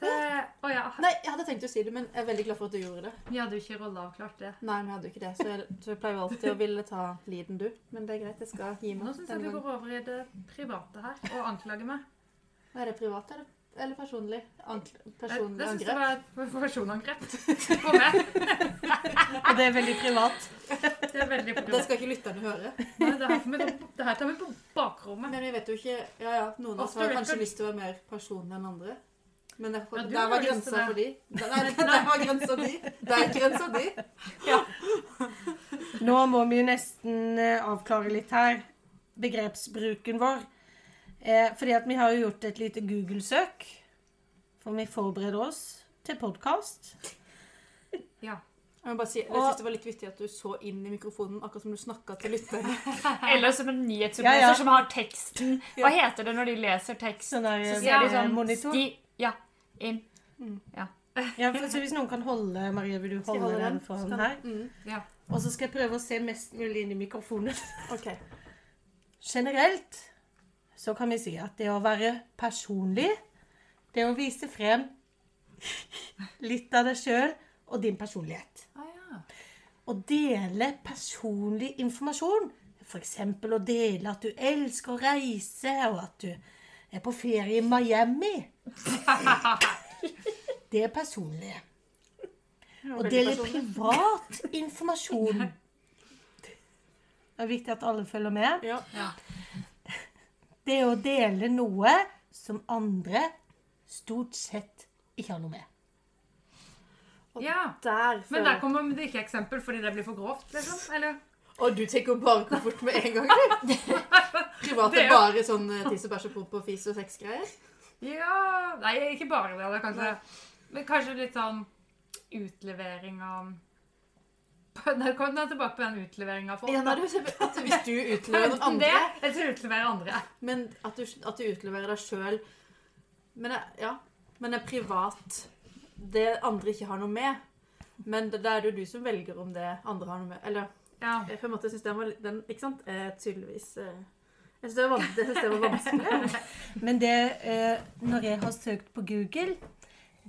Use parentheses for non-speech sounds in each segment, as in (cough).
til Å ja, Nei, jeg hadde tenkt å si det, men jeg er veldig glad for at du gjorde det. vi hadde jo ikke rolleavklart det. Nei, vi hadde jo ikke det, så jeg, så jeg pleier jo alltid å ville ta liden du. Men det er greit, jeg skal gi Nå meg. syns jeg denne du gangen. går over i det private her og anklager meg. Er det privat eller, eller personlig? Ankl Jeg, personlig det syns jeg angrep? var et personangrep på meg. (laughs) Og det er veldig privat. Det er veldig Det privat. skal ikke lytterne høre. Nei, det, her får vi ta- det her tar vi på bakrommet. Men vi vet jo ikke Ja ja, noen av oss Ofte har vet kanskje du- lyst til å være mer personlig enn andre. Men der, Ja, du der har var lyst til grensa det. for de. (laughs) Nei, der var grensa di. Der er grensa di. Nå må vi jo nesten eh, avklare litt her begrepsbruken vår. Eh, fordi at vi har jo gjort et lite Google-søk. For vi forbereder oss til podkast. Jeg må bare si, jeg Og- synes det var litt vittig at du så inn i mikrofonen, akkurat som du snakka til lytterne. Eller som en nyhetsoppleser Ja, ja. som har teksten. Hva heter det når de leser tekst? Sånn der Så eh, ser de sånn monitor. sti, Ja. Inn. Ja, for, så hvis noen kan holde Marie, vil du Skal jeg holde holde den den? foran Skal- her? Mm. Ja. Og så skal jeg prøve å se mest mulig inn i mikrofonen. (laughs) Ok. Generelt så kan vi si at det å være personlig, det å vise frem litt av deg sjøl og din personlighet. Å dele personlig informasjon, f.eks. å dele at du elsker å reise, og at du er på ferie i Miami. Det er personlig. Å dele privat informasjon. Det er viktig at alle følger med. Ja. Det er å dele noe som andre stort sett ikke har noe med. ja. Der Men der føler jeg kommer det ikke eksempel fordi det blir for grovt, liksom? Eller? Og du tenker bare koffert med en gang, du. (laughs) Privat Det er- er bare sånn eh, tiss og bæsj og promp og fis og sexgreier. Ja Nei, ikke bare det. det er kanskje, men kanskje litt sånn utlevering av Der kom den tilbake på den utleveringa av folk. Ja, da. nei, du, at hvis (laughs) du utleverer noen Enten det, andre, eller til å utlevere andre. men at du, at du utleverer deg sjøl Men det- ja. Men det er privat. Det andre ikke har noe med. Men det, det er det jo du som velger om det andre har noe med. Eller Ja. Jeg på en måte synes den var litt- den, Ikke sant? Eh, tydeligvis eh, Jeg syns det, var van- jeg synes det var vanskelig. Men det, eh, når jeg har søkt på Google,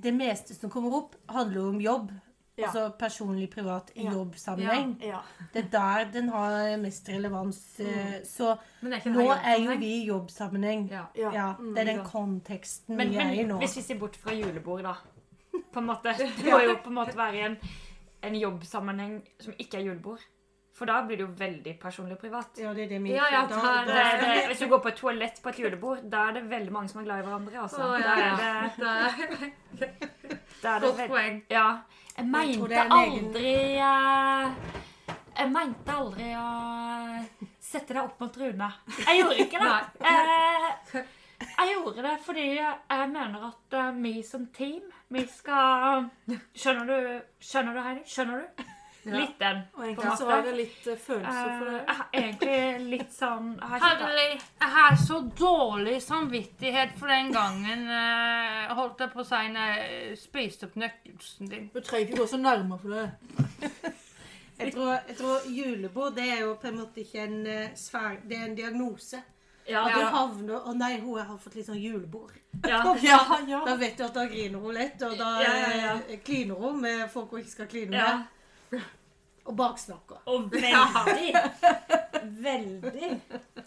det meste som kommer opp, handler jo om jobb. Ja. Altså personlig, privat, i Ja. jobbsammenheng. (laughs) Ja. Det er der den har mest relevans. eh, Så Men det er ikke nå er jo vi vi i jobbsammenheng. ja. ja. Ja, det er den Mm. konteksten Men, vi er i men nå. hvis vi ser bort fra julebord, da. På en måte. Det må jo på en måte være en, en jobbsammenheng som ikke er julebord. For da blir det jo veldig personlig og privat. Ja, det er det vi Ja, ja, da- der- Det da- er det, hvis du går på et toalett på et julebord, da er det veldig mange som er glad i hverandre. Altså. Å, Da ja, er ja. det, Det er da er det Godt veld- poeng. Ja. Jeg tror mente det er en egen- aldri eh, Jeg mente aldri å sette deg opp mot Rune. Jeg gjorde ikke (laughs) det. Eh, Jeg gjorde det fordi jeg mener at eh, vi som team, vi skal Skjønner du, skjønner du Heidi? Skjønner du? Ja. Litt den. Og egentlig så har jeg litt eh, følelser for Eh, det. jeg har egentlig litt sånn jeg har ikke- Herlig. Jeg har så dårlig samvittighet for den gangen eh, holdt jeg på å si når jeg spiste opp nøkkelsen din. Du trenger ikke gå så nærme for det. Jeg tror, jeg tror julebord det er jo på en måte ikke en eh, svær Det er en diagnose. Ja, At du ja. havner Å nei, hun har fått litt sånn julebord. ja. Ja, ja. Da vet du at da griner hun lett, og da Ja, ja, eh, kliner hun med folk hun ikke skal kline ja. med. Og baksnakker. Og veldig. Veldig.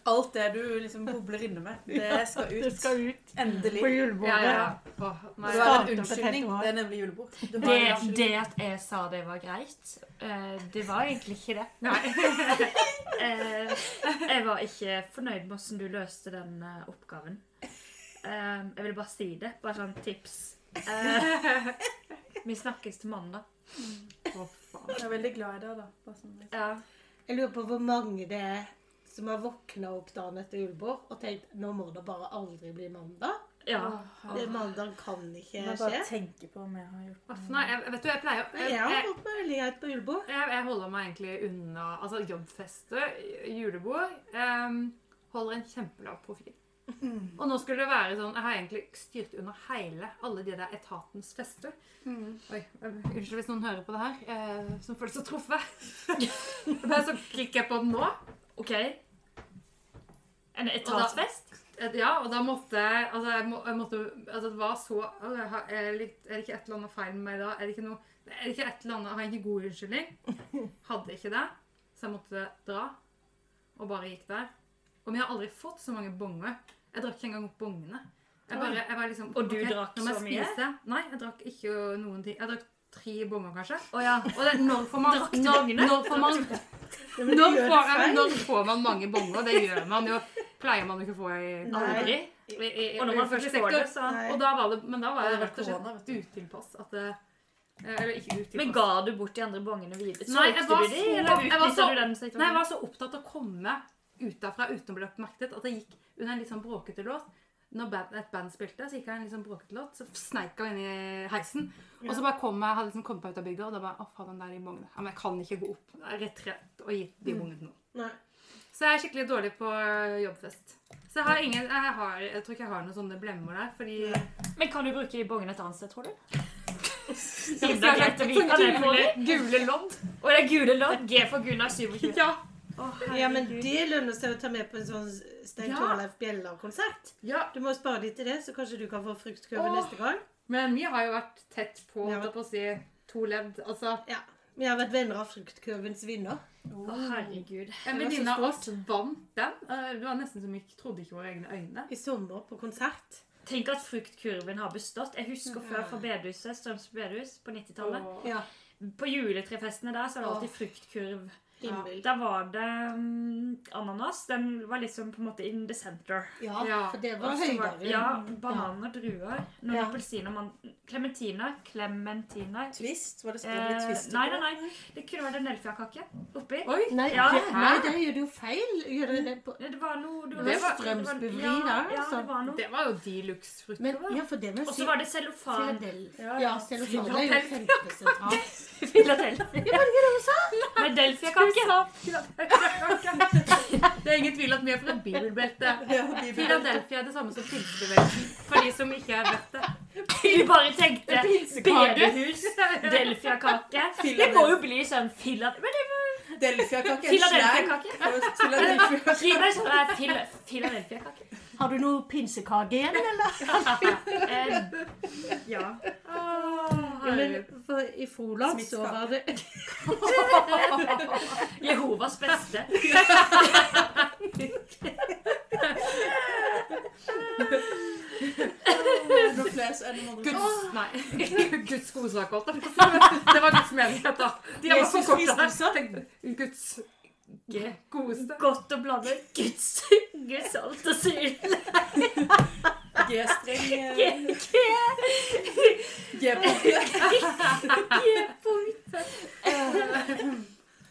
Alt det du liksom bobler inne med, det skal ut. Endelig. Ja, julebordet. ja. Åh, Og nei. så er det Starter en på unnskyldning. februar. Det er nemlig julebord. Du har en Det, unnskyldning. det at jeg sa det var greit, eh, det var egentlig ikke det. (laughs) Eh, jeg var ikke fornøyd med hvordan du løste den eh, oppgaven. Eh, jeg ville bare si det. Bare sånn tips. Eh, vi snakkes til mandag. Jeg er veldig glad i deg, da. Bare sånn. Ja. Jeg lurer på hvor mange det er som har våkna opp dagen etter julebord og tenkt nå må det bare aldri bli mandag. Ja. Det mandag kan ikke Jeg skje. bare tenker på om jeg har gjort Aff, nei, jeg, vet du, jeg pleier å- Men jeg har holdt meg veldig greit på julebord. Jeg, jeg holder meg egentlig unna altså jobbfeste, julebord. em, holder en kjempelav profil. Og nå skulle det være sånn Jeg har egentlig styrt unna hele alle de der etatens fester. Oi, eh, Unnskyld hvis noen hører på det her, eh, som føler seg truffet. (laughs) Men så klikker jeg på den nå. OK. En etatsfest? Et- Ja, og da måtte jeg Altså, jeg, må, jeg måtte, altså det var så altså, jeg har- er, det litt, er det ikke et eller annet feil med meg da? Er det ikke noe er det ikke et eller annet, Har jeg ikke god (laughs) unnskyldning? Hadde ikke det. Så jeg måtte dra. Og bare gikk der. Og vi har aldri fått så mange bonger. Jeg drakk ikke engang opp bongene. Jeg bare, jeg var liksom, Og du ok, drakk nå må jeg så mye? spise. Nei, jeg drakk ikke noen ting. Jeg drakk tre bonger, kanskje. Å ja. Og det, når får man, Drakk du når, bongene? når får man Men du når gjør det får, ja, men feil. når får man mange bonger? Det gjør man jo. Pleier man jo ikke å få i, Aldri. i, i, i Og når man offentlig først får det, sektor. så Nei. Og da var det, men da var Ja, jeg det var rett og korona, vet slett utilpass. At det, eh, eller ikke utilpass. Men ga du bort de andre bongene videre? Nei, jeg var Solgte du de, så- eller jeg var utnytta så- du Nei, den jeg situasjonen? var så opptatt av å komme ut derfra uten å bli oppmerket at jeg gikk under en litt sånn bråkete låt. Når band, et band spilte, så gikk jeg en litt sånn bråkete låt, så sneik jeg inn i heisen. Og så bare kom jeg, hadde liksom kommet meg ut av bygda, og da bare Å, faen, den der i bongene. Ja, men jeg kan ikke gå opp. Jeg er Retrett og gi Mm. de bongene til noen. Nei. Så jeg er skikkelig dårlig på øh, jobbfest. Så jeg har ingen Jeg, har, jeg tror ikke jeg har noen sånne blemmer der, fordi Men kan du bruke de bongene et annet sted, tror du? Sånn Ida greit å vite det for gule, gule lodd. Og det er gule lodd. G for Gunnar 27. Ja. Ja, men det lønner seg å ta med på en sånn Stein Ja. Torleif Bjella-konsert. ja. Du må spare de til det, så kanskje du kan få fruktkurve Åh. neste gang. Men vi har jo vært tett på, Ja. holdt jeg på å si, to ledd. Altså, Ja. Vi har vært venner av fruktkurvens vinner. Å, herregud. en var så venninne av oss stort. vant den. Eh, Det var nesten som vi ikke trodde ikke våre egne øyne. I sommer på konsert. Tenk at fruktkurven har bestått. Jeg husker før fra bedehuset, Strømsø bedehus på 90-tallet. Og- Ja. På juletrefestene der så er det alltid fruktkurv. Himmel. Der var det mm, ananas. Den var liksom på en måte in the center. Ja, Ja. for det Og var så var- høydere. Ja, bananer, druer, noen Ja. appelsiner, man- klementiner. Klementiner. Twist? Var det Eh, skrevet twist? nei, nei, nei. Det kunne vært en elfiakake oppi. Oi! Nei, Ja. det, nei, der gjør du jo feil. Gjør du det på Ja, Det var noe det Det var- var strømsbevri ja, der, Ja, altså. det var noe. Det var jo de luxe-frukt. Men ja, for det med Og så var det cellofan. Philadelphia. Ja, cellofan er jo (laughs) kjempesentralt. Philadelphia. Delfia-kake. (laughs) Det er ingen tvil at vi er fra bibelbeltet. Philadelphia er det samme som pilsebevegelsen. For de som ikke er vet det. Vi bare tenkte Pinsekake. bedehus, Delfia-kake. Det må jo bli sånn Phila- Men det Delfia-kake. Philadelphia-kake. Philadelphia. Gi meg sånn eh, Phila- Philadelphia-kake. Har du noe pinsekake igjen, eller? Eh, Ja. Ja, men for, I Froland så Smittskake. var det (laughs) Jehovas beste. No place any mother. Guds, nei. (laughs) Guds godsak, holdt jeg på å (laughs) si. Det var Guds menighet, da. De har Jesus forkorta det. Guds G- (laughs) godeste. Godt å blande Guds, Guds alt og syl. G-streng. eh, G- G-punkt.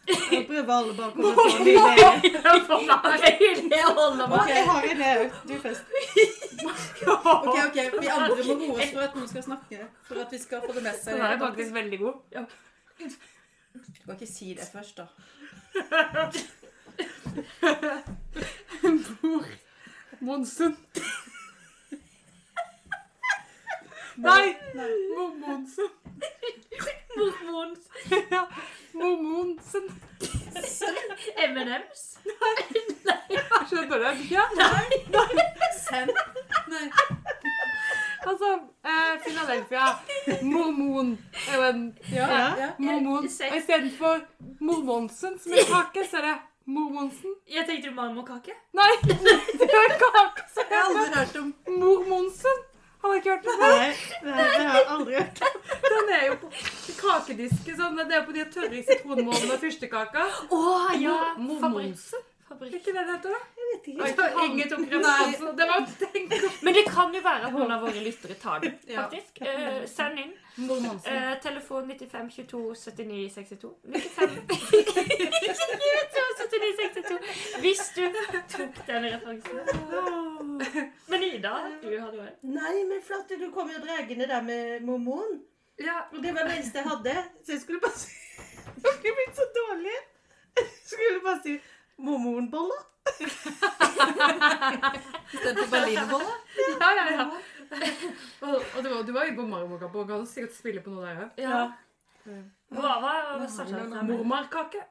Nå prøver alle bak å få en ny idé. Det holder meg. Ok, Jeg har en her. Du først. ok, ok. Vi andre må roe oss for at noen skal snakke. For at vi skal få det med seg. Den er faktisk veldig god. Du kan ikke si det først, da. Monsen. Nei! Mor Monsen. Mormons. (laughs) Ja, Mor Monsen. M&M's. Skjønner du? Ja. Send. Nei. Altså, eh, Philadelphia. Mormon er jo en Ja. Ja. ja. mormon. Og istedenfor Mor Monsen, som er kake, så er det Mor Monsen. Jeg tenkte marmorkake. Nei, det er kake, så Jeg har er det aldri hørt om Mor Monsen. Har dere ikke hørt det? Nei, nei, det har jeg (laughs) aldri hørt. Den er jo på kakedisken. Sånn, det er jo på de tørre sitronmålene og fyrstekaka. Å ja! Mor Fabrikk. Monsen. Er Fabrikk. ikke det det heter, da? Jeg Oi, Ingen tok referansen. Det var tenkt Men det kan jo være at noen av våre lyttere tar den, Ja. faktisk. Eh, send inn. Mor Monsen. Eh, telefon 95 22 79 62. 95 (laughs) 22 79 62. Hvis du tok den referansen. (laughs) Men Ida, du hadde vært Nei, men flott, du kom jo dragende der med mormonen. Ja, Og det var det eneste jeg hadde. Så jeg skulle bare si (laughs) Jeg skulle blitt så dårlig. Jeg skulle bare si mormonboller. Istedenfor berlinerbolle. ja, ja. ja. (laughs) og og det var, du var jo på Marmorkamp og kan sikkert spille på noe der òg. Ja. Hva var hva starta dette her med? Mormarkake.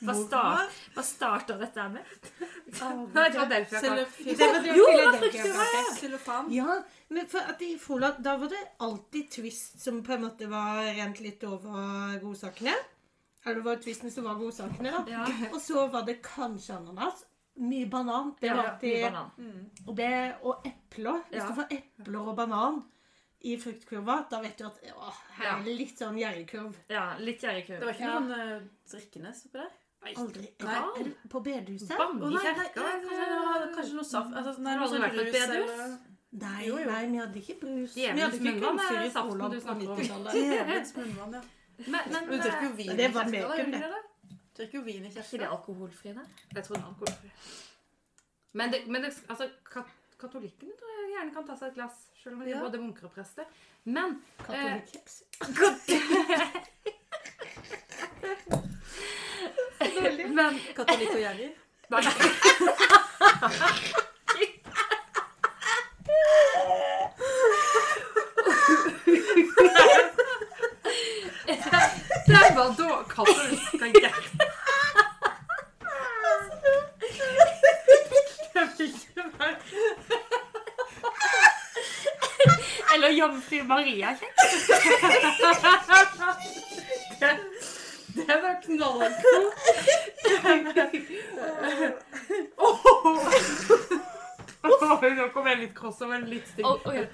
Hva start- hva starta dette her med? Nei, det var Delfia-kake. Jo, det var Xylofan. Ja, men for at i Froland, da var det alltid Twist som på en måte var rent litt over godsakene. Eller det var Twisten som var godsakene, da. Ja. Og så var det kanskje ananas. Mye banan. Det Ja, var mye alltid banan. og det, Og epler. Hvis Ja. du får epler og banan i fruktkurva, da vet du at å, her er det litt sånn gjerdekurv. Ja, litt gjerrigkurv. Det var ikke noe sånn eh, drikkenes oppi der? Aldri. Er Nei. det- er det på bedehuset? Å, nei, nei, nei, Bannekjerka. kanskje, det var, kanskje noe saft altså, nei, Har noe aldri sånn vært på et brus bedehus? eller Nei, Jo, jo. nei, vi hadde ikke brus. Vi Djevelens hadde ikke munnvann er kunstig i saften Froland du på snakker om. (laughs) 90-tallet. Djevelens munnvann, ja. Men, men Men du drikker jo vin Men i (laughs) det var kjerka, da, gjør bacon, du (laughs) det. ikke det? Du drikker jo vin i Er ikke det kjerka. alkoholfri, da? Jeg tror den er alkoholfri. Men, det, men det, altså, kat katolikkene tror jeg gjerne kan ta seg et glass. Selv om de Ja. er både munker og prester. Men eh, Eh, Katolikkeks. Men Katolikk og gjerrig. (laughs) det var da katolikker gikk. (laughs) Eller Jomfru Maria? ikke? Det var knallhardt. Åh, Nå kom jeg litt cross over litt stygg. Og- og-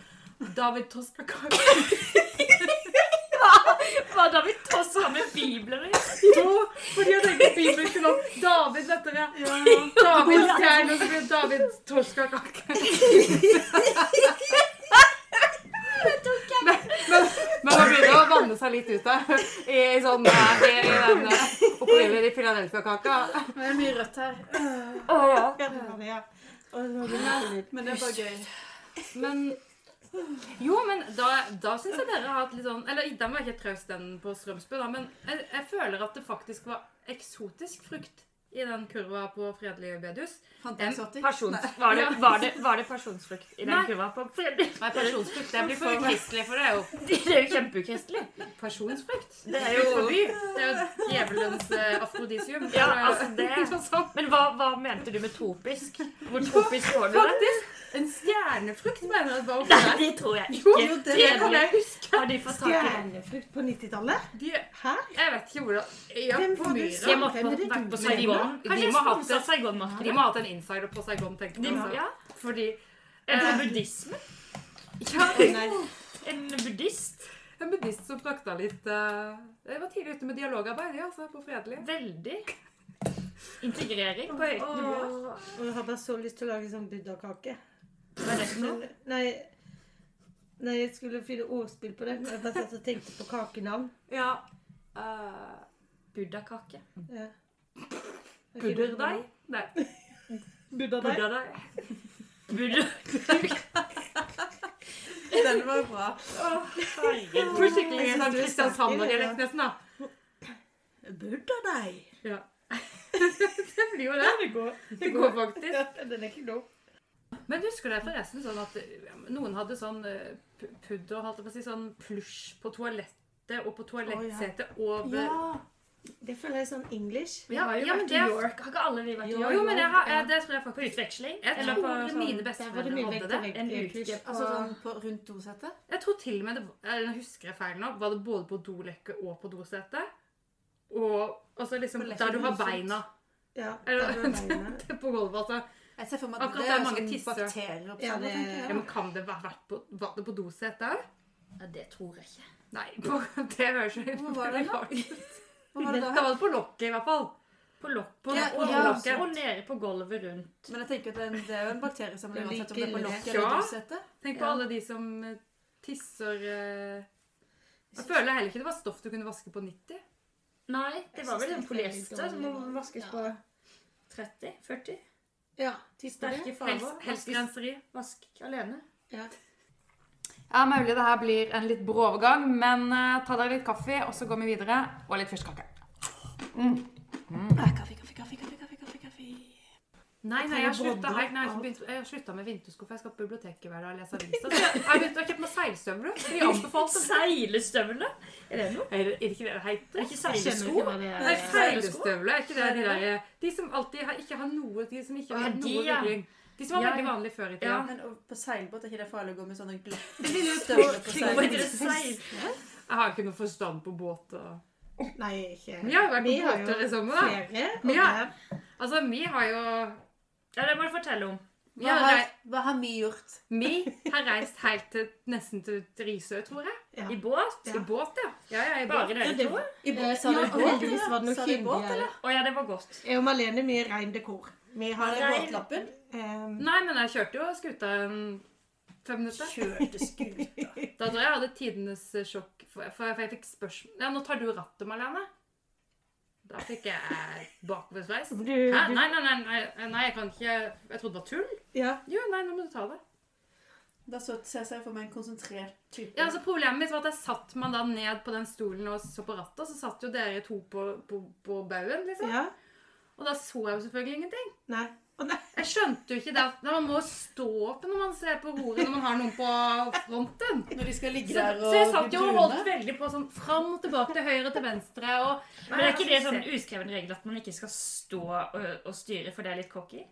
David Toskakak. Hva da vi tosser med bibler i? Jo, fordi jeg tenkte Bibelen kunne opp David lettere. David Stjern, og så blir det David Torskakake. Men, men, men man begynner å vanne seg litt ut der. I, i sånn eh, i, i den eh, opprinnelig Philadelphia-kaka. Men det er mye rødt her. Ja, det var det, ja. Og så var det litt- Men det er bare gøy. Men Jo, men da, da syns jeg dere har hatt litt sånn Eller den var ikke traust, den på Strømsbø, da, men jeg, jeg føler at det faktisk var eksotisk frukt i den kurva på Fredelig bedehus. (laughs) Fantastisk. Persons, var, det, var, det, var det personsfrukt i den Nei. kurva? På Fredrik? Nei, personsfrukt. Det blir for ukristelig, for det er jo Det er jo kjempekristelig. personsfrukt. Det er jo forby. Det er jo djevelens eh, afrodisium. Ja, Så- altså det Ikke sant? Men hva, hva mente du med tropisk? Hvor tropisk får du det? Faktisk! En stjernefrukt mener jeg at var Nei, oppe der. det tror jeg Jo, ikke. jo, det kan jeg huske. Har de fått tak i den? Stjernefrukt på 90-tallet? De, Hæ? jeg vet ikke hvordan ja, Hvem på får du Myra. Jeg måtte Hvem er ha det vært du på Saigon. mener? Kanskje De de må ha hatt sponset det. De Saigon-markedet? må ha hatt en insider på Saigon, tenker De jeg. må- altså. Ja. Fordi Eh, buddhisme? ja, Nei. En buddhist? En buddhist som frakta litt eh, Jeg var tidlig ute med dialogarbeid, ja, så på Fredelig. Veldig. Integrering på høyt nivå. Og jeg har bare så lyst til å lage sånn buddha-kake. Hva er det for noe? Nei, nei, jeg skulle finne ordspill på det. men Jeg bare satt og tenkte på kakenavn. Ja. eh, Buddha-kake. Ja. Budderdeig? Nei. Budderdeig. Budderdeig. Buddha. Den var bra. Herregud. Får skikkelig sånn Kristiansand-dialekt nesten, da. Budderdeig. Ja. det blir jo det. Det går, faktisk. Ja, den er ikke dum. Men husker dere forresten sånn at eh, noen hadde sånn eh, pu- pudder, holdt jeg på å si, sånn plusj på toalettet og på toalettsetet over Ja. Det føler jeg er sånn English. Vi har jo vært i det- York. Har ikke alle vi vært i Jo, York? jo, men jeg har, eh, det tror jeg På faktisk utveksling? Jeg Eller på tror mine Der var sånn- det besteforeldre mye hadde det. vekt en English. uke. Altså sånn på rundt dosetet? Jeg tror til og med det var- eller Nå husker jeg feil nå. Var det både på dolekket og på dosetet? Og altså liksom På lekket der du har huset. beina. Ja, Eller- der (laughs) var beina. På gulvet, altså. Jeg ser for meg at Akkurat det det er er mange sånn tisser. bakterier opp Ja, sånn, det- tenker Ja, jeg. men kan det ha vært på, var det på dosetet òg? sånn- Ja, det tror jeg ikke. Nei, på, (laughs) det høres jo Hvor var det da? Hva var det Da da? var det på lokket, i hvert fall. På lokket. På, Ja, på ja, lokket. Og nede på gulvet rundt. Men jeg tenker at det er en- det er jo en bakteriesamling Det uansett om det er på ligger- lokket eller Ja. dosetet. Tenk på Ja. alle de som eh, tisser eh, Jeg føler heller ikke det var stoff du kunne vaske på 90. Nei, det Jeg var synes vel det en er veldig polyester som må dårlig. vaskes Ja. på 30-40. Ja, tipper det. Sterke Helst, farger. helst renseri. Vask alene. Ja. Ja, Mulig det her blir en litt brå overgang, men eh, ta dere litt kaffe, og så går vi videre. Og litt Mm. fyrstekake. Ah, Kaffe, kaffe, kaffe, kaffe, kaffe, kaffe, kaffe. Nei, nei, jeg har slutta helt. Nei, jeg har ikke begynt- jeg har slutta med vintersko, for jeg skal på biblioteket hver dag og lese aviser. Så jeg har begynt å kjøpe meg seilstøvler. De anbefalte Seilestøvler? Er det noe? Er det er det ikke det det heter? Er ikke seilesko? Nei, Eh, seilestøvler. Er ikke det de der eh, De som alltid har, ikke har noe De som ikke Å, har ja, de, noe ja. rygling. De som var Ja, veldig ja. vanlige før i tida. Ja. Men og på seilbåt er ikke det farlig å gå med sånne (laughs) glatte Det vil jo tro- støvler (laughs) på Hvorfor heter det seil? seil? Jeg har ikke noe forstand på båt. Og... Nei, ikke Vi har jo vært Vi på har jo båttur i sommer, da. Ferie. og Ja. der- Altså, vi har jo Ja, det må du fortelle om. vi har, Hva har, rei- hva har vi gjort? vi har reist helt til nesten til Risøy, tror jeg. Ja. I båt? I båt, ja. ja, ja i båt. Bare dere to? I Eh, båt? Sa ja, dere og båt? heldigvis var det noe Sa dere båt, kyndige. eller? Å ja, det var godt. Jeg og Malene mye rein dekor. Vi har Har dere Nei. båtlappen? eh, Nei, men jeg kjørte jo skuta en fem minutter. Kjørte skute. (laughs) Da tror jeg jeg hadde tidenes sjokk, for, for, for jeg fikk spørsmål Ja, nå tar du rattet, Malene. Da fikk jeg bakoversveis. Du, Hæ? du, Nei, nei, nei, nei, nei, jeg kan ikke Jeg trodde det var tull. ja. Jo, nei, nå må du ta det. Da så ser jeg for meg en konsentrert type. Ja, altså Problemet mitt var at jeg satt meg da ned på den stolen og så på rattet, og så satt jo dere to på, på, på baugen, liksom. ja. Og da så jeg jo selvfølgelig ingenting. Nei. Å nei. Jeg skjønte jo ikke det at man må stå opp når man ser på roret når man har noen på fronten. Når de skal ligge Så, der og så jeg satt jo og bli holdt brune. veldig på sånn fram og tilbake til høyre til venstre og Men er ikke det sånn uskreven regel at man ikke skal stå og, og styre, for det er litt cocky?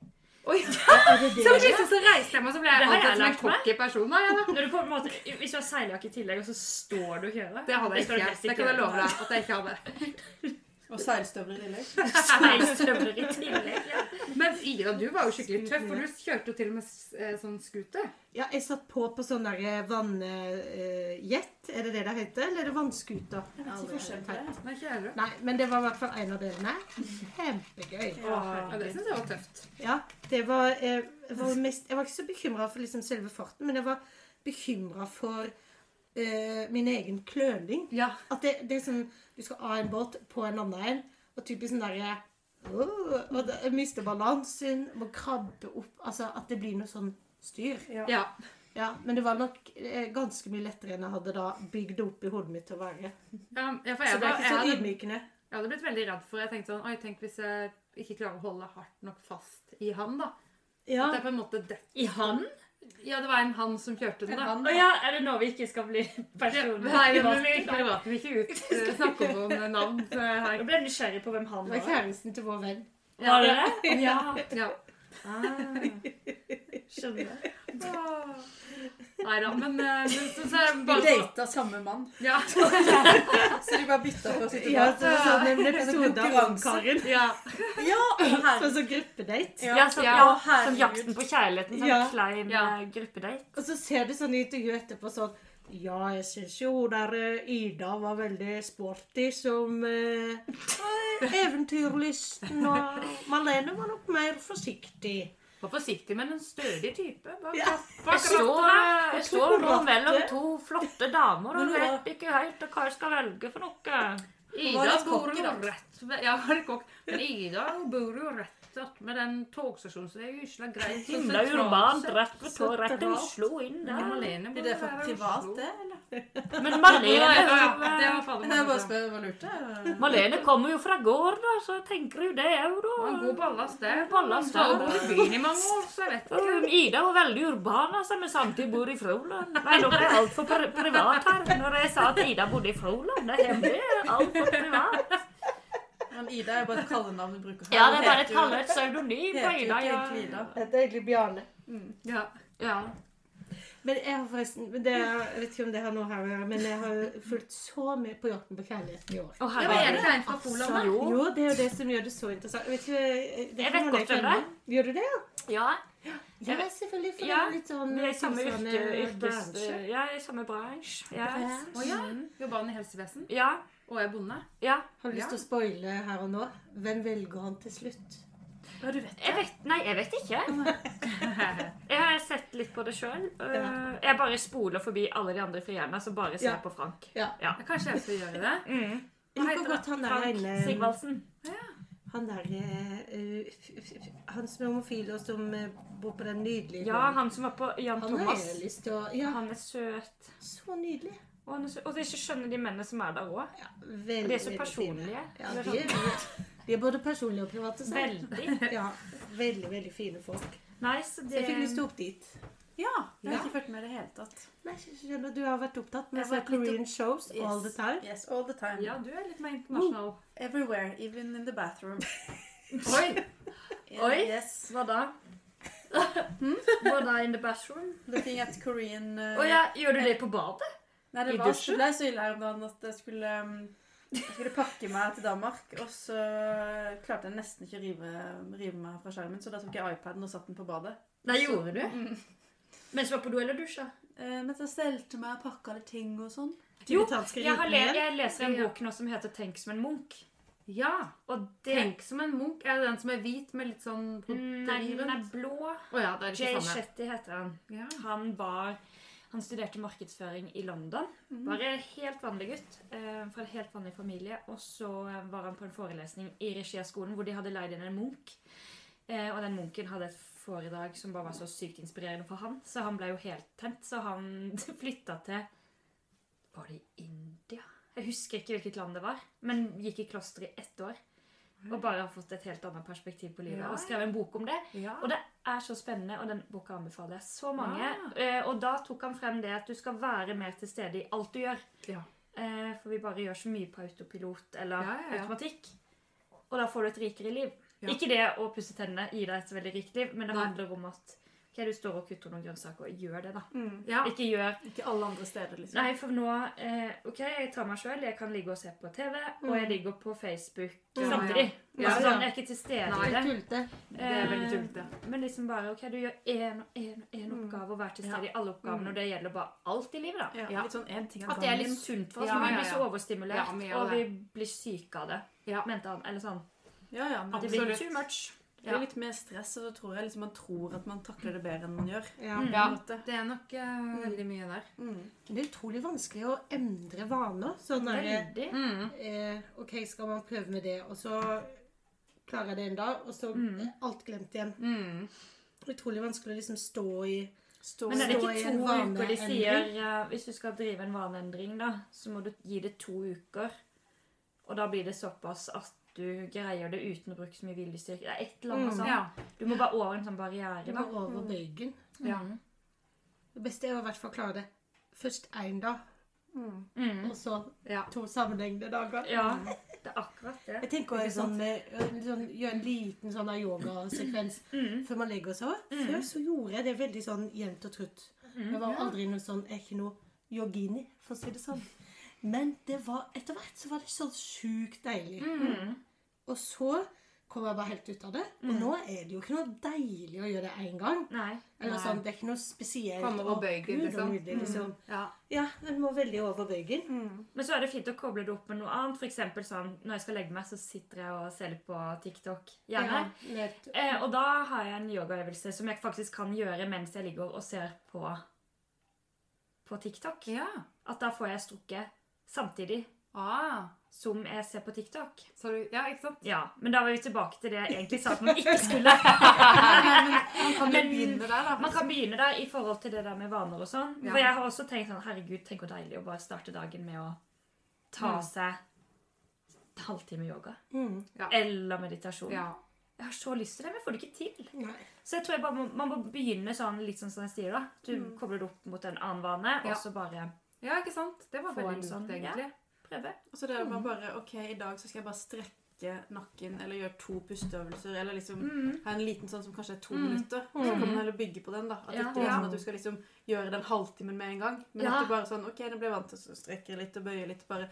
Oi, Så plutselig så reiste jeg meg, så ble jeg Det har antatt jeg som en lært meg. cocky person. Da, jeg, da. Når du på en måte, hvis du har seiljakke i tillegg, og så står du og kjører Det hadde jeg skal du ikke. helst Det kan jeg gjøre. love deg at jeg ikke hadde. Og seilstøvler i tillegg. (laughs) Seilstøvler i tillegg, ja. Men Ida, du var jo skikkelig tøff, for du kjørte jo til og med s- eh, sånn scooter. Ja, jeg satt på på sånn der vannjet. Er det det det heter? Eller er det vannskuter? Jeg vet ikke forskjell på det. Nei, ikke jeg heller. Nei, men det var i hvert fall en av delene. Kjempegøy. Ja, det syns jeg var tøft. Ja, det var, eh, jeg, var mest, jeg var ikke så bekymra for liksom selve farten, men jeg var bekymra for eh, min egen kløning. Ja. At det, det er sånn Du skal av en båt på en annen en, og typisk sånn derre «Åh», Og da- jeg mister balansen, må krabbe opp Altså at det blir noe sånn styr. ja. Ja, Men det var nok eh, ganske mye lettere enn jeg hadde da bygd det opp i hodet mitt til å være. Ja, ja, for Så jeg, da, det er jeg, ikke så hadde, ydmykende. jeg hadde blitt veldig redd for Jeg tenkte sånn Oi, tenk hvis jeg ikke klarer å holde hardt nok fast i han, da. Ja. At jeg på en måte det. I han? Ja, det var en han som kjørte den, da. Å ja, er det nå vi ikke skal bli personer? Nei, det må Privat- vi privaten vi ikke ut eh, snakke om noen (laughs) navn eh, her. Jeg ble nysgjerrig på hvem han Det var var. kjæresten til vår venn. Var det det? Ja, Ja. Ah. skjønner. Nei da, men, eh, men så, så er det Vi bare data samme mann, ja. så de bare bytta for å (laughs) sitte Ja, bak. så det var sånn (laughs) en episode av konkurranse. Karin. ja. Ja, Sånn som gruppedate. Ja, som, ja, ja, som herregud. jakten på kjærligheten. Sånn Ja. klein Ja. eh, gruppedate. Og så ser du sånn i intervjuet etterpå sånn Ja, jeg syns jo hun der eh, Ida var veldig sporty som (laughs) eh, eh, eventyrlysten, og Malene var nok mer forsiktig. Vær forsiktig med en stødig type. Bare, Ja. Jeg står, jeg står nå Kokoratte. mellom to flotte damer, Men og hun vet ikke helt hva jeg skal velge for noe. Var Ida det bor kokk, jo da? rett ved Ja, var det kokk? Men Ida bor jo rett attmed den togstasjonen, så det er jo gysla greit. så Himla sentralt urbant, sett. rett ved tog, rett til Sentralt. Oslo, inn Men der. Malene bor Blir det jo for her i privat, Oslo. det? eller? Men Ja, Malene, ja, ja, det hun, var fader Jeg bare meg bra. spør, hva lurte jeg? Malene kommer jo fra gård, da, så jeg tenker jo det òg, da. Han god ballast, det. God ballast, Hun har ja. bodd i byen i mange år, så jeg vet Og ikke. hun Ida var veldig urban, altså, men samtidig bor i Froland. Nei, dere er altfor pri privat her. Når jeg sa at Ida bodde i Froland, det er hemmelig. Altfor privat. Men Ida er bare et kallenavn du bruker. Ja, det er bare et Heter jo- kalle et pseudonym på heter jo Ida. ikke Ja. egentlig Ida. Dette er egentlig Bjarne. Ja. Ja. Men jeg har forresten men det er, Jeg vet ikke om det har noe her å gjøre, men jeg har jo fulgt så med på Jakten på kjærligheten i år. Og Det her var er en det. klein fra Poland, da. Jo. Jo, det er jo det som gjør det så interessant. Jeg vet, ikke, det kan Jeg vet man godt hvem kjenne. Gjør du det? ja? Ja, Ja, Jeg vet- selvfølgelig. For Ja, det er litt sånn det er samme tilsvarende yrke, yrkes... eh, bransje. Ja, i samme bransje. Ja. Bransje. Å ja. Jobber han i helsevesen? Ja. Og er bonde? ja. Har du lyst til å spoile her og nå? Hvem velger han til slutt? Ja, du vet. Jeg vet Nei, jeg vet (laughs) ikke. Jeg har sett litt på det sjøl. Jeg bare spoler forbi alle de andre frierne, så bare ser Ja. jeg på Frank. Ja. Ja. Kanskje jeg skal gjøre det? Mm. Jeg Hva liker heter godt han der Frank ene Sigvaldsen. Han der eh, eh, f- f- f- Han som er homofil og som eh, bor på den nydelige Ja, han som var på Jan Han har Thomas. jeg lyst til å Ja, Han er søt. så nydelig. Og, han er søt. og det er ikke skjønner de mennene som er der òg. Ja, veldig, De er så veldig fine. personlige. (laughs) Ja, Det er de, er, de er både personlige og private. sånn sant? Veldig. Ja, veldig, veldig fine folk. Nei, så Så det jeg fikk lyst til å opp dit. Ja. Jeg har Ja. ikke fulgt med i det hele tatt. Nei, jeg skjønner, du har vært opptatt med Jeg sånne har vært litt Korean shows Yes. all the time. Yes, all the time. Ja, du er litt mer internasjonal. Everywhere, even in the bathroom. Oi! Oi. Yes. Hmm? Hva da? Hva da in the bathroom? Looking at Korean uh, Å ja, gjør du det på badet? Nei, det I var, det dusjen? ble så ille her om dagen at jeg skulle, um, jeg skulle pakke meg til Danmark, og så klarte jeg nesten ikke å rive, rive meg fra skjermen, så da tok jeg iPaden og satt den på badet. Nei, gjorde du? Mens du var på do eller dusja? Eh, mens jeg stelte meg og pakka litt ting og sånn. Jo, Tibetanske jeg, har le rytmer. jeg leser en bok nå som heter 'Tenk som en munk'. Ja. Og det Tenk som en munk. Er det den som er hvit med litt sånn Mm, Nei, den er blå. Å ja, det er Jay ikke sånn, samme. Shetty heter han. Ja. Han var han studerte markedsføring i London. Mhm. Var en helt vanlig gutt eh, fra en helt vanlig familie. Og så eh, var han på en forelesning i regi av skolen hvor de hadde leid inn en munk. Eh, og den munken hadde et foredrag som bare var så sykt inspirerende for han. Så han ble jo helt tent. Så han (laughs) flytta til Var det India? Jeg husker ikke hvilket land det var. Men gikk i kloster i ett år. Og bare har fått et helt annet perspektiv på livet. Ja, Og skrev en bok om det. Ja. Og det er så spennende, og den boka anbefaler jeg så mange. Ah. Eh, og da tok han frem det at du skal være mer til stede i alt du gjør. Ja. Eh, for vi bare gjør så mye på autopilot eller Ja, ja, ja. automatikk. Og da får du et rikere liv. Ja. Ikke det å pusse tennene gir deg et veldig rikt liv, men det Nei. handler om at ok, du står og kutter noen grønnsaker. Gjør det, da. Mm. Ja. Ikke gjør Ikke alle andre steder, liksom. Nei, for nå eh, Ok, jeg tar meg sjøl. Jeg kan ligge og se på TV, og jeg ligger på Facebook Mm. Ja, ja. samtidig. Altså, Ja, sånn, ja. jeg er ikke til stede Nei, i det. Tulte. Det er veldig tullete. Eh, Men liksom bare ok, du gjør én og én og én oppgave, og vær til stede i alle oppgavene. Og det gjelder bare alt i livet, da. Ja, Ja. Litt sånn en ting av At liksom- det er gangen. litt sunt for oss. Ja, for Vi ja, blir ja. så overstimulert, Ja, vi gjør og vi det. blir syke av det. Ja. Mente han. Eller sånn. Ja, ja, men Det det blir Absolutt. too much. blir Ja. litt mer stress, og så tror jeg liksom man tror at man takler det bedre enn man gjør. Ja. Mm. Ja, på en måte. det er nok eh, veldig mye der. Men Det er utrolig vanskelig å endre vaner. Sånn der, Veldig. eh, OK, skal man prøve med det, og så klarer jeg det en dag, og så er alt glemt igjen. Mm. Utrolig vanskelig å liksom stå i Stå Men er det stå i ikke en to uker de sier vaneendring. eh, Hvis du skal drive en vaneendring, da, så må du gi det to uker. Og da blir det såpass at du greier det uten å bruke så mye viljestyrke. Det er et eller annet Mm. sånn. Ja. Du må bare over en sånn barriere. Det Da. var over bøygen. Mm. Ja. Det beste er å i hvert fall klare det først én dag, Mm. og så Ja. to sammenhengende dager. Ja, det er akkurat det. Jeg tenker også sånn, eh, sånn, Gjøre en liten sånn der yogasekvens Mm. før man legger seg. også. Før så gjorde jeg det veldig sånn jevnt og trutt. Mm. Det var aldri noe sånn Jeg er ikke noe yogini, for å si det sånn. Men det var, etter hvert så var det så sjukt deilig. Mm. Og så kom jeg bare helt ut av det. Og nå er det jo ikke noe deilig å gjøre det én gang. Nei. Eller Nei. sånn, Det er ikke noe spesielt. Komme over og bøygen, gud, liksom. og nydelig, liksom. Ja. Ja, den må veldig over bøygen. Men så er det fint å koble det opp med noe annet. For eksempel sånn, når jeg skal legge meg, så sitter jeg og ser litt på TikTok. Gjerne. nett- Eh, og da har jeg en yogaøvelse som jeg faktisk kan gjøre mens jeg ligger og ser på, på TikTok. ja. At da får jeg strukket samtidig Ah. som jeg ser på TikTok. Så du, ja, ikke sant? Ja, Men da var vi tilbake til det jeg egentlig sa at (laughs) man ikke skulle. Man kan jo Men- begynne der, da. Man kan begynne der i forhold til det der med vaner og sånn. Ja. For jeg har også tenkt sånn Herregud, tenk hvor deilig å bare starte dagen med å ta seg en halvtime yoga. Mm. Ja. Eller meditasjon. Ja. Jeg har så lyst til det, men jeg får det ikke til. Nei. Så jeg tror jeg bare må, man må begynne sånn litt sånn som jeg sier, da. Du kobler det opp mot en annen vane, Ja. og så bare ja, ikke sant? Det var Få en veldig sånn, lurt, egentlig. prøve. Og så det er man bare OK, i dag så skal jeg bare strekke nakken eller gjøre to pusteøvelser. Eller liksom Mm. ha en liten sånn som kanskje er to minutter. Og så kan man heller bygge på den, da. At Ja. det ikke er Ja. sånn at du skal liksom gjøre den halvtimen med en gang. Men Ja. at du bare sånn OK, nå blir jeg vant til å strekke litt og bøye litt. Bare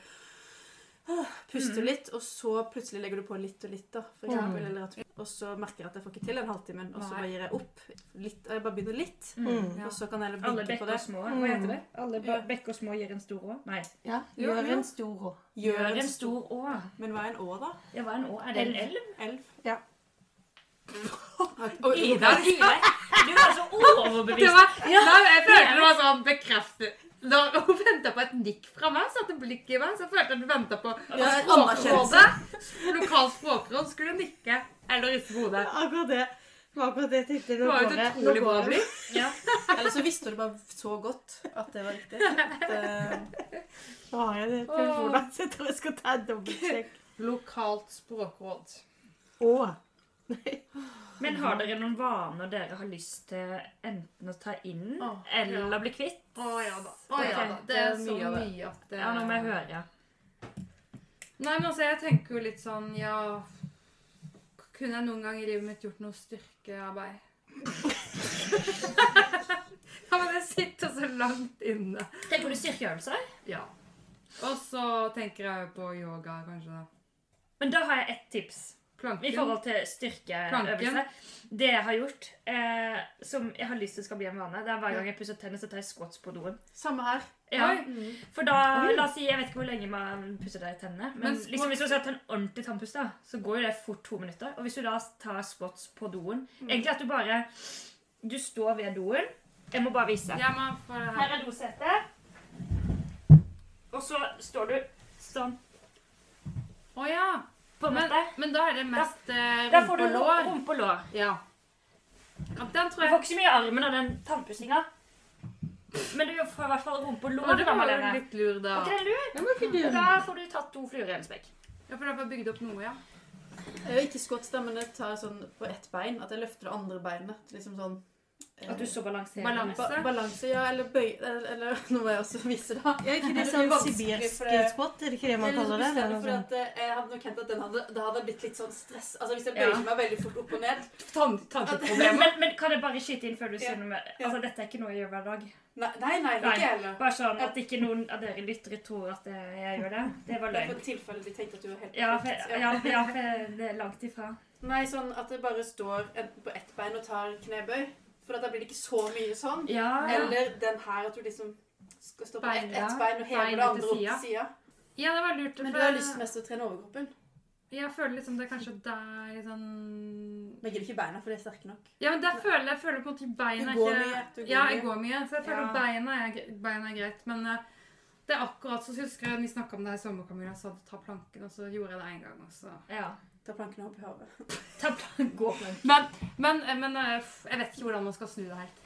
ah, puste Mm. litt, og så plutselig legger du på litt og litt, da. For eksempel, eller at, og så merker jeg at jeg får ikke til den halvtimen, og så Nei. bare gir jeg opp. Litt, jeg bare begynner litt, Mm. Ja. og så kan jeg heller Alle bygge på bekker det. små. Hva heter det? Mm. Alle Ja. bekker små gir en stor å. Nei. Ja, Jo, gjør jo. en stor å. Gjør en stor å. Men hva er en å, da? Ja, hva er en å? Er det en elv? Elv? Ja. Og- Ida, Ida, (laughs) du var så overbevist. var, nei, jeg følte det var sånn bekreftet. Da hun venta på et nikk fra meg, satte blikket i meg, så jeg følte at hun venta på Ja, at anerkjennelse. Språkrådet, lokalt språkråd, skulle nikke eller riste på hodet. Akkurat det. Det var akkurat det jeg tenkte. Det Nå var jo går et det. Nå utrolig bra går det. blikk. Eller så visste du bare så godt at det var riktig. At, eh, Nå har jeg det på telefonen, så jeg tror jeg skal ta en dobbeltsjekk. Lokalt språkråd. Å. Men har dere noen vaner dere har lyst til enten å ta inn Åh, eller bli kvitt? Å ja da. Å, ja da. Det er Det er så mye av det. mye at eh, det Ja, nå må jeg høre. Nei, men altså, jeg tenker jo litt sånn Ja, kunne jeg noen gang i livet mitt gjort noe styrkearbeid? (laughs) ja, men det sitter så langt inne. Tenker du styrkeøvelser? Ja. Og så tenker jeg på yoga, kanskje. da. Men da har jeg ett tips. I Planken. forhold til styrkeøvelse. Det jeg har gjort, eh, som jeg har lyst til skal bli en vane, det er hver gang jeg pusser tenner, så tar jeg squats på doen. samme her. Ja, Oi. for da, la oss si, Jeg vet ikke hvor lenge man pusser deg i tennene. Men, Men squats- liksom, hvis du skal ta en ordentlig tannpust, da, så går jo det fort to minutter. Og hvis du da tar squats på doen Egentlig at du bare Du står ved doen. Jeg må bare vise. Ja, men for det her. Her er dosetet. Og så står du sånn Å ja. på en Men, måte. men da er det mest eh, Der får rumpe du og ru- lår. rumpe og lår. Ja. ja. Den Du tror får jeg ikke så mye i armen av den tannpussinga. Men du får i hvert fall rumpe og Å, lår. det var jo Var litt lur, da. ikke det lurt? Det må ikke du. Da får du tatt to fluer i en smekk. Ja, for da får jeg bygd opp noe, ja. Jeg er ikke skott, da, men jeg tar sånn på ett bein. At jeg løfter det andre beinet. Liksom sånn eh, At du så balanserer. Balanse. ba balanse, ja. Eller bøy... Eller, eller (laughs) nå må jeg også vise, da. Er ikke det Det sånn blir vanskelig, sibirsk for det- squat? Er det ikke det man Jeg kaller det? bestemmer det? er noe for sånn- at eh, jeg hadde nok kjent at den hadde, det hadde blitt litt sånn stress. Altså Hvis jeg Ja. bøyer meg veldig fort opp og ned Tann, Men, tannkjøttproblemer. men, men kan jeg bare skyte inn før du sier Ja. noe mer? Altså, dette er ikke noe jeg gjør hver dag. Nei, nei, nei ikke Nei. jeg heller. Bare sånn at ikke noen av dere lyttere tror at eh, jeg gjør det. Det var Det er løgn. for tilfelle de tenkte at du var helt Ja, for, perfekt. ja, ja, for det er langt ifra. Nei, sånn at jeg bare står enten på ett bein og tar knebøy. For at da blir det ikke så mye sånn. Ja, ja. Eller den her at du liksom skal stå på ett Beina. ett bein og heve Beina det andre til opp til sida. sida. Ja, det var lurt. Men for du har jeg- lyst mest til å trene overkroppen. Jeg føler liksom det er kanskje der litt sånn Men jeg gidder ikke beina, for de er sterke nok. Ja, men der føler jeg føler på en måte beina Du går ikke mye, du går Ja, jeg mye. går mye. Så jeg føler Ja. at beina er, gre- beina er greit. Men eh, det er akkurat så husker jeg vi snakka om det her i sommer, Camilla. Jeg sa du tar planken, og så gjorde jeg det én gang. Og så. ja. Ta plankene opp i hodet. Ta plan gå. Men, men, eh, men eh, f- jeg vet ikke hvordan man skal snu det helt.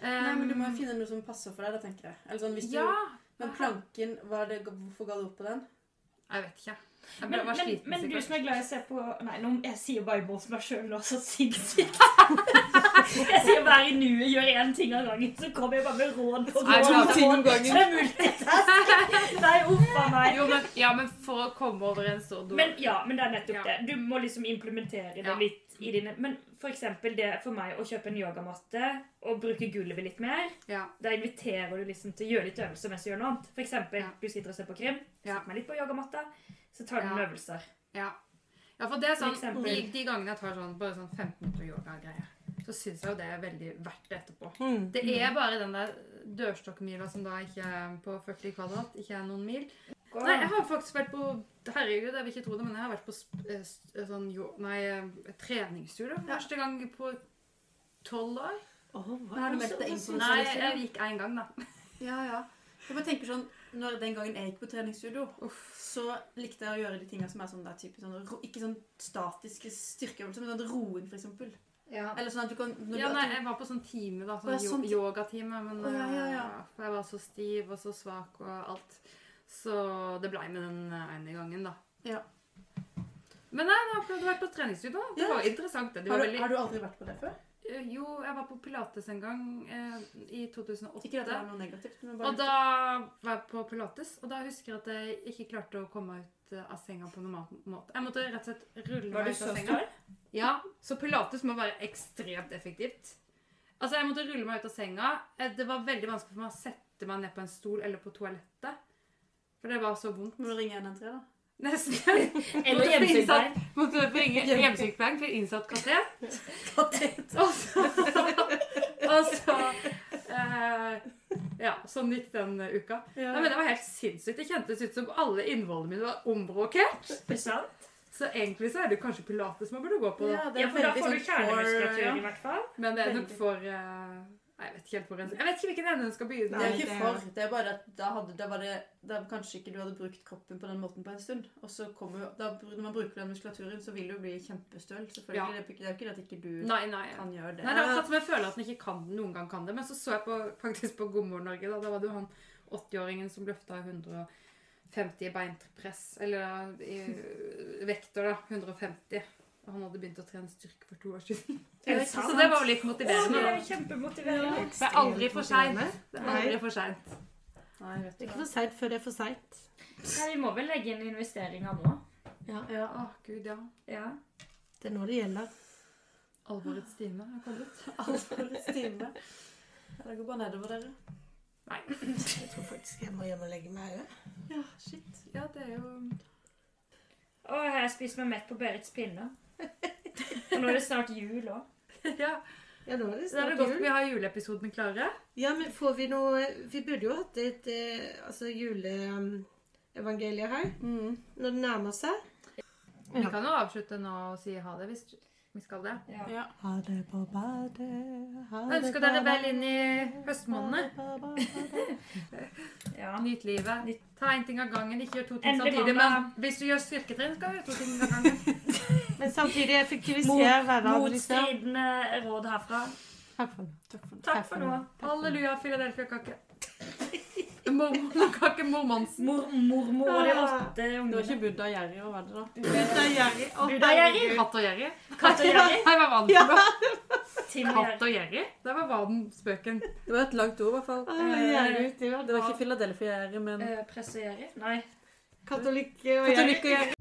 Nei, men du må jo finne noe som passer for deg, da, tenker jeg. Eller sånn hvis du Ja. Men planken, var det, hvorfor ga du opp på den? Jeg vet ikke. Jeg ble Men, bare men, sliten. men du sikkert. som er glad i å se på Nei, nå, jeg sier bare imot meg sjøl nå, så (laughs) sinnssykt. Jeg sier være i nuet, gjør én ting av gangen, så kommer jeg bare med råd på Nei, råd. to på ting om råd. gangen. Så det er multitask. Nei, uff a meg. Jo, men, ja, men for å komme over en stor do Men ja, men det er nettopp Ja. det. Du må liksom implementere det Ja. litt i dine Men for eksempel det for meg å kjøpe en yogamatte og bruke gulvet litt mer. ja. Da inviterer du liksom til å gjøre litt øvelser mens du gjør noe annet. For eksempel, Ja. du sitter og ser på krim, Ja. setter meg litt på yogamatta, så tar du Ja. noen øvelser. Ja. ja, for det er For sånn, eksempel. de, de gangene jeg tar sånn, bare sånn 15 minutter yoga-greier, så syns jeg jo det er veldig verdt det etterpå. Mm. Det er bare den der dørstokkmila som da ikke er på 40 kvadrat, ikke er noen mil. Nei, jeg har faktisk vært på Herregud, jeg vil ikke tro det, men jeg har vært på sp- eh, s- eh, sånn jo, nei, eh, treningsstudio for første gang på tolv år. Men har du meldt deg inn på Nei, sånn- jeg gikk én gang, da. Ja, ja. Jeg bare tenker sånn, når Den gangen jeg gikk på treningsstudio, så likte jeg å gjøre de tingene som er sånn der type, sånn, ro- Ikke sånn statiske styrkeøvelser, men sånn roing, for eksempel. Ja. Eller sånn at du kan når Ja, du, nei, at du, jeg var på sånn time, da. Å, ja, Sånn sånn yo- ti- yogatime. Men Å, ja, ja, ja. eh, for jeg var så stiv og så svak og alt. Så det blei med den eh, ene gangen, da. Ja. Men nei, da har du vært på treningsstudio. da. Det Ja. var interessant. Det. Det har, var du, veldig... har du aldri vært på det før? Eh, Jo, jeg var på pilates en gang eh, i 2008. Ikke at det er noe negativt. Men bare Og da var jeg på pilates, og da husker jeg at jeg ikke klarte å komme ut eh, av senga på normal måte. Jeg måtte rett og slett rulle Var meg du ut så av senga. stor? Ja, så pilates må være ekstremt effektivt. Altså, jeg måtte rulle meg ut av senga. Eh, Det var veldig vanskelig for meg å sette meg ned på en stol eller på toalettet. For det var så vondt. (laughs) Må du ringe 113, da? (laughs) Nesten. Eller hjemmesykepleier. Måtte jeg få ringe hjemmesykepleieren for innsatt katet. (laughs) Og så, (laughs) og så eh, Ja, sånn gikk den eh, uka. Ja. Nei, men Det var helt sinnssykt. Det kjentes ut som alle innvollene mine var ombrokert. Ikke sant? Så egentlig så er det kanskje pilates man burde gå på. da. Ja, det Ja, er for da veldig får sånn du kjernemuskulatur core, i hvert fall. Men det er nok Veldig. for eh, Nei, Jeg vet ikke helt hvor jeg, jeg vet ikke hvilken ende hun skal begynne. Det er ikke egentlig. for. Det er bare at da, hadde, da var det da kanskje ikke du hadde brukt kroppen på den måten på en stund. Og så kommer jo da, Når man bruker den muskulaturen, så vil du bli kjempestøl. Selvfølgelig. Ja. Det, er ikke- det er jo ikke det at ikke du Nei, nei. kan gjøre det. Nei, det er (laughs) akkurat som jeg føler at den ikke kan det, noen gang kan det. Men så så jeg på, faktisk på God morgen Norge. Da, da var det jo han 80-åringen som løfta 150 i beinpress. Eller i vekter, da. 150. Og han hadde begynt å trene styrke for to år siden. Er det Så sant? det var jo litt motiverende. Det da. er kjempemotiverende. Det er aldri for seint. Det er Nei. aldri for seint. Nei, vet du Det er hva. ikke for seint før det er for seint. Ja, vi må vel legge inn investeringer nå. Ja, å gud, ja. Ja. Det er nå det gjelder. Alvorets time er kommet. Alvorets time. Ja, Det går bare nedover, dere. Jeg tror faktisk jeg må hjem og legge meg òg. Ja, shit. Ja, det er jo Og jeg har spist meg mett på Berits pinne. Og nå er det snart jul òg. (laughs) Ja, Ja, nå er det så er det snart godt jul. vi har juleepisoden klare. Ja, men får vi noe Vi burde jo hatt et eh, altså, juleevangeliet her Mm. når det nærmer seg. Vi kan jo avslutte nå og si ha det hvis vi skal det. Ja. Ha det på badet, ha Jeg ønsker dere vel inn i høstmånedene. Ja. Nyt livet. Ta én ting av gangen. Ikke gjør to ting Endelig samtidig. Men mandag. hvis du gjør styrketrening, skal du gjøre to ting av gangen. Men samtidig effektivisere hverdagen. liksom. Motstridende råd herfra. Takk for nå. (laughs) Takk for nå. Halleluja, Philadelphia-kake. Mormonkake Mormons. (laughs) Mor, mormor og de åtte Det var ungene. ikke Buddha Jerry, hva var det da? Buddha Jerry. Å, Buddha Jerry. herregud. Katt og Jerry. Katt og Jerry. Nei, hva var den for noe? Tim og Katt Jerry. og Jerry? Det var Vaden-spøken. Det var et langt ord, i hvert fall. Å, Jerry, det var Det var ikke Philadelphia Jerry, men Eh, Presse Jerry? Nei. Katolikk og Jerry. Katolikk og Jerry.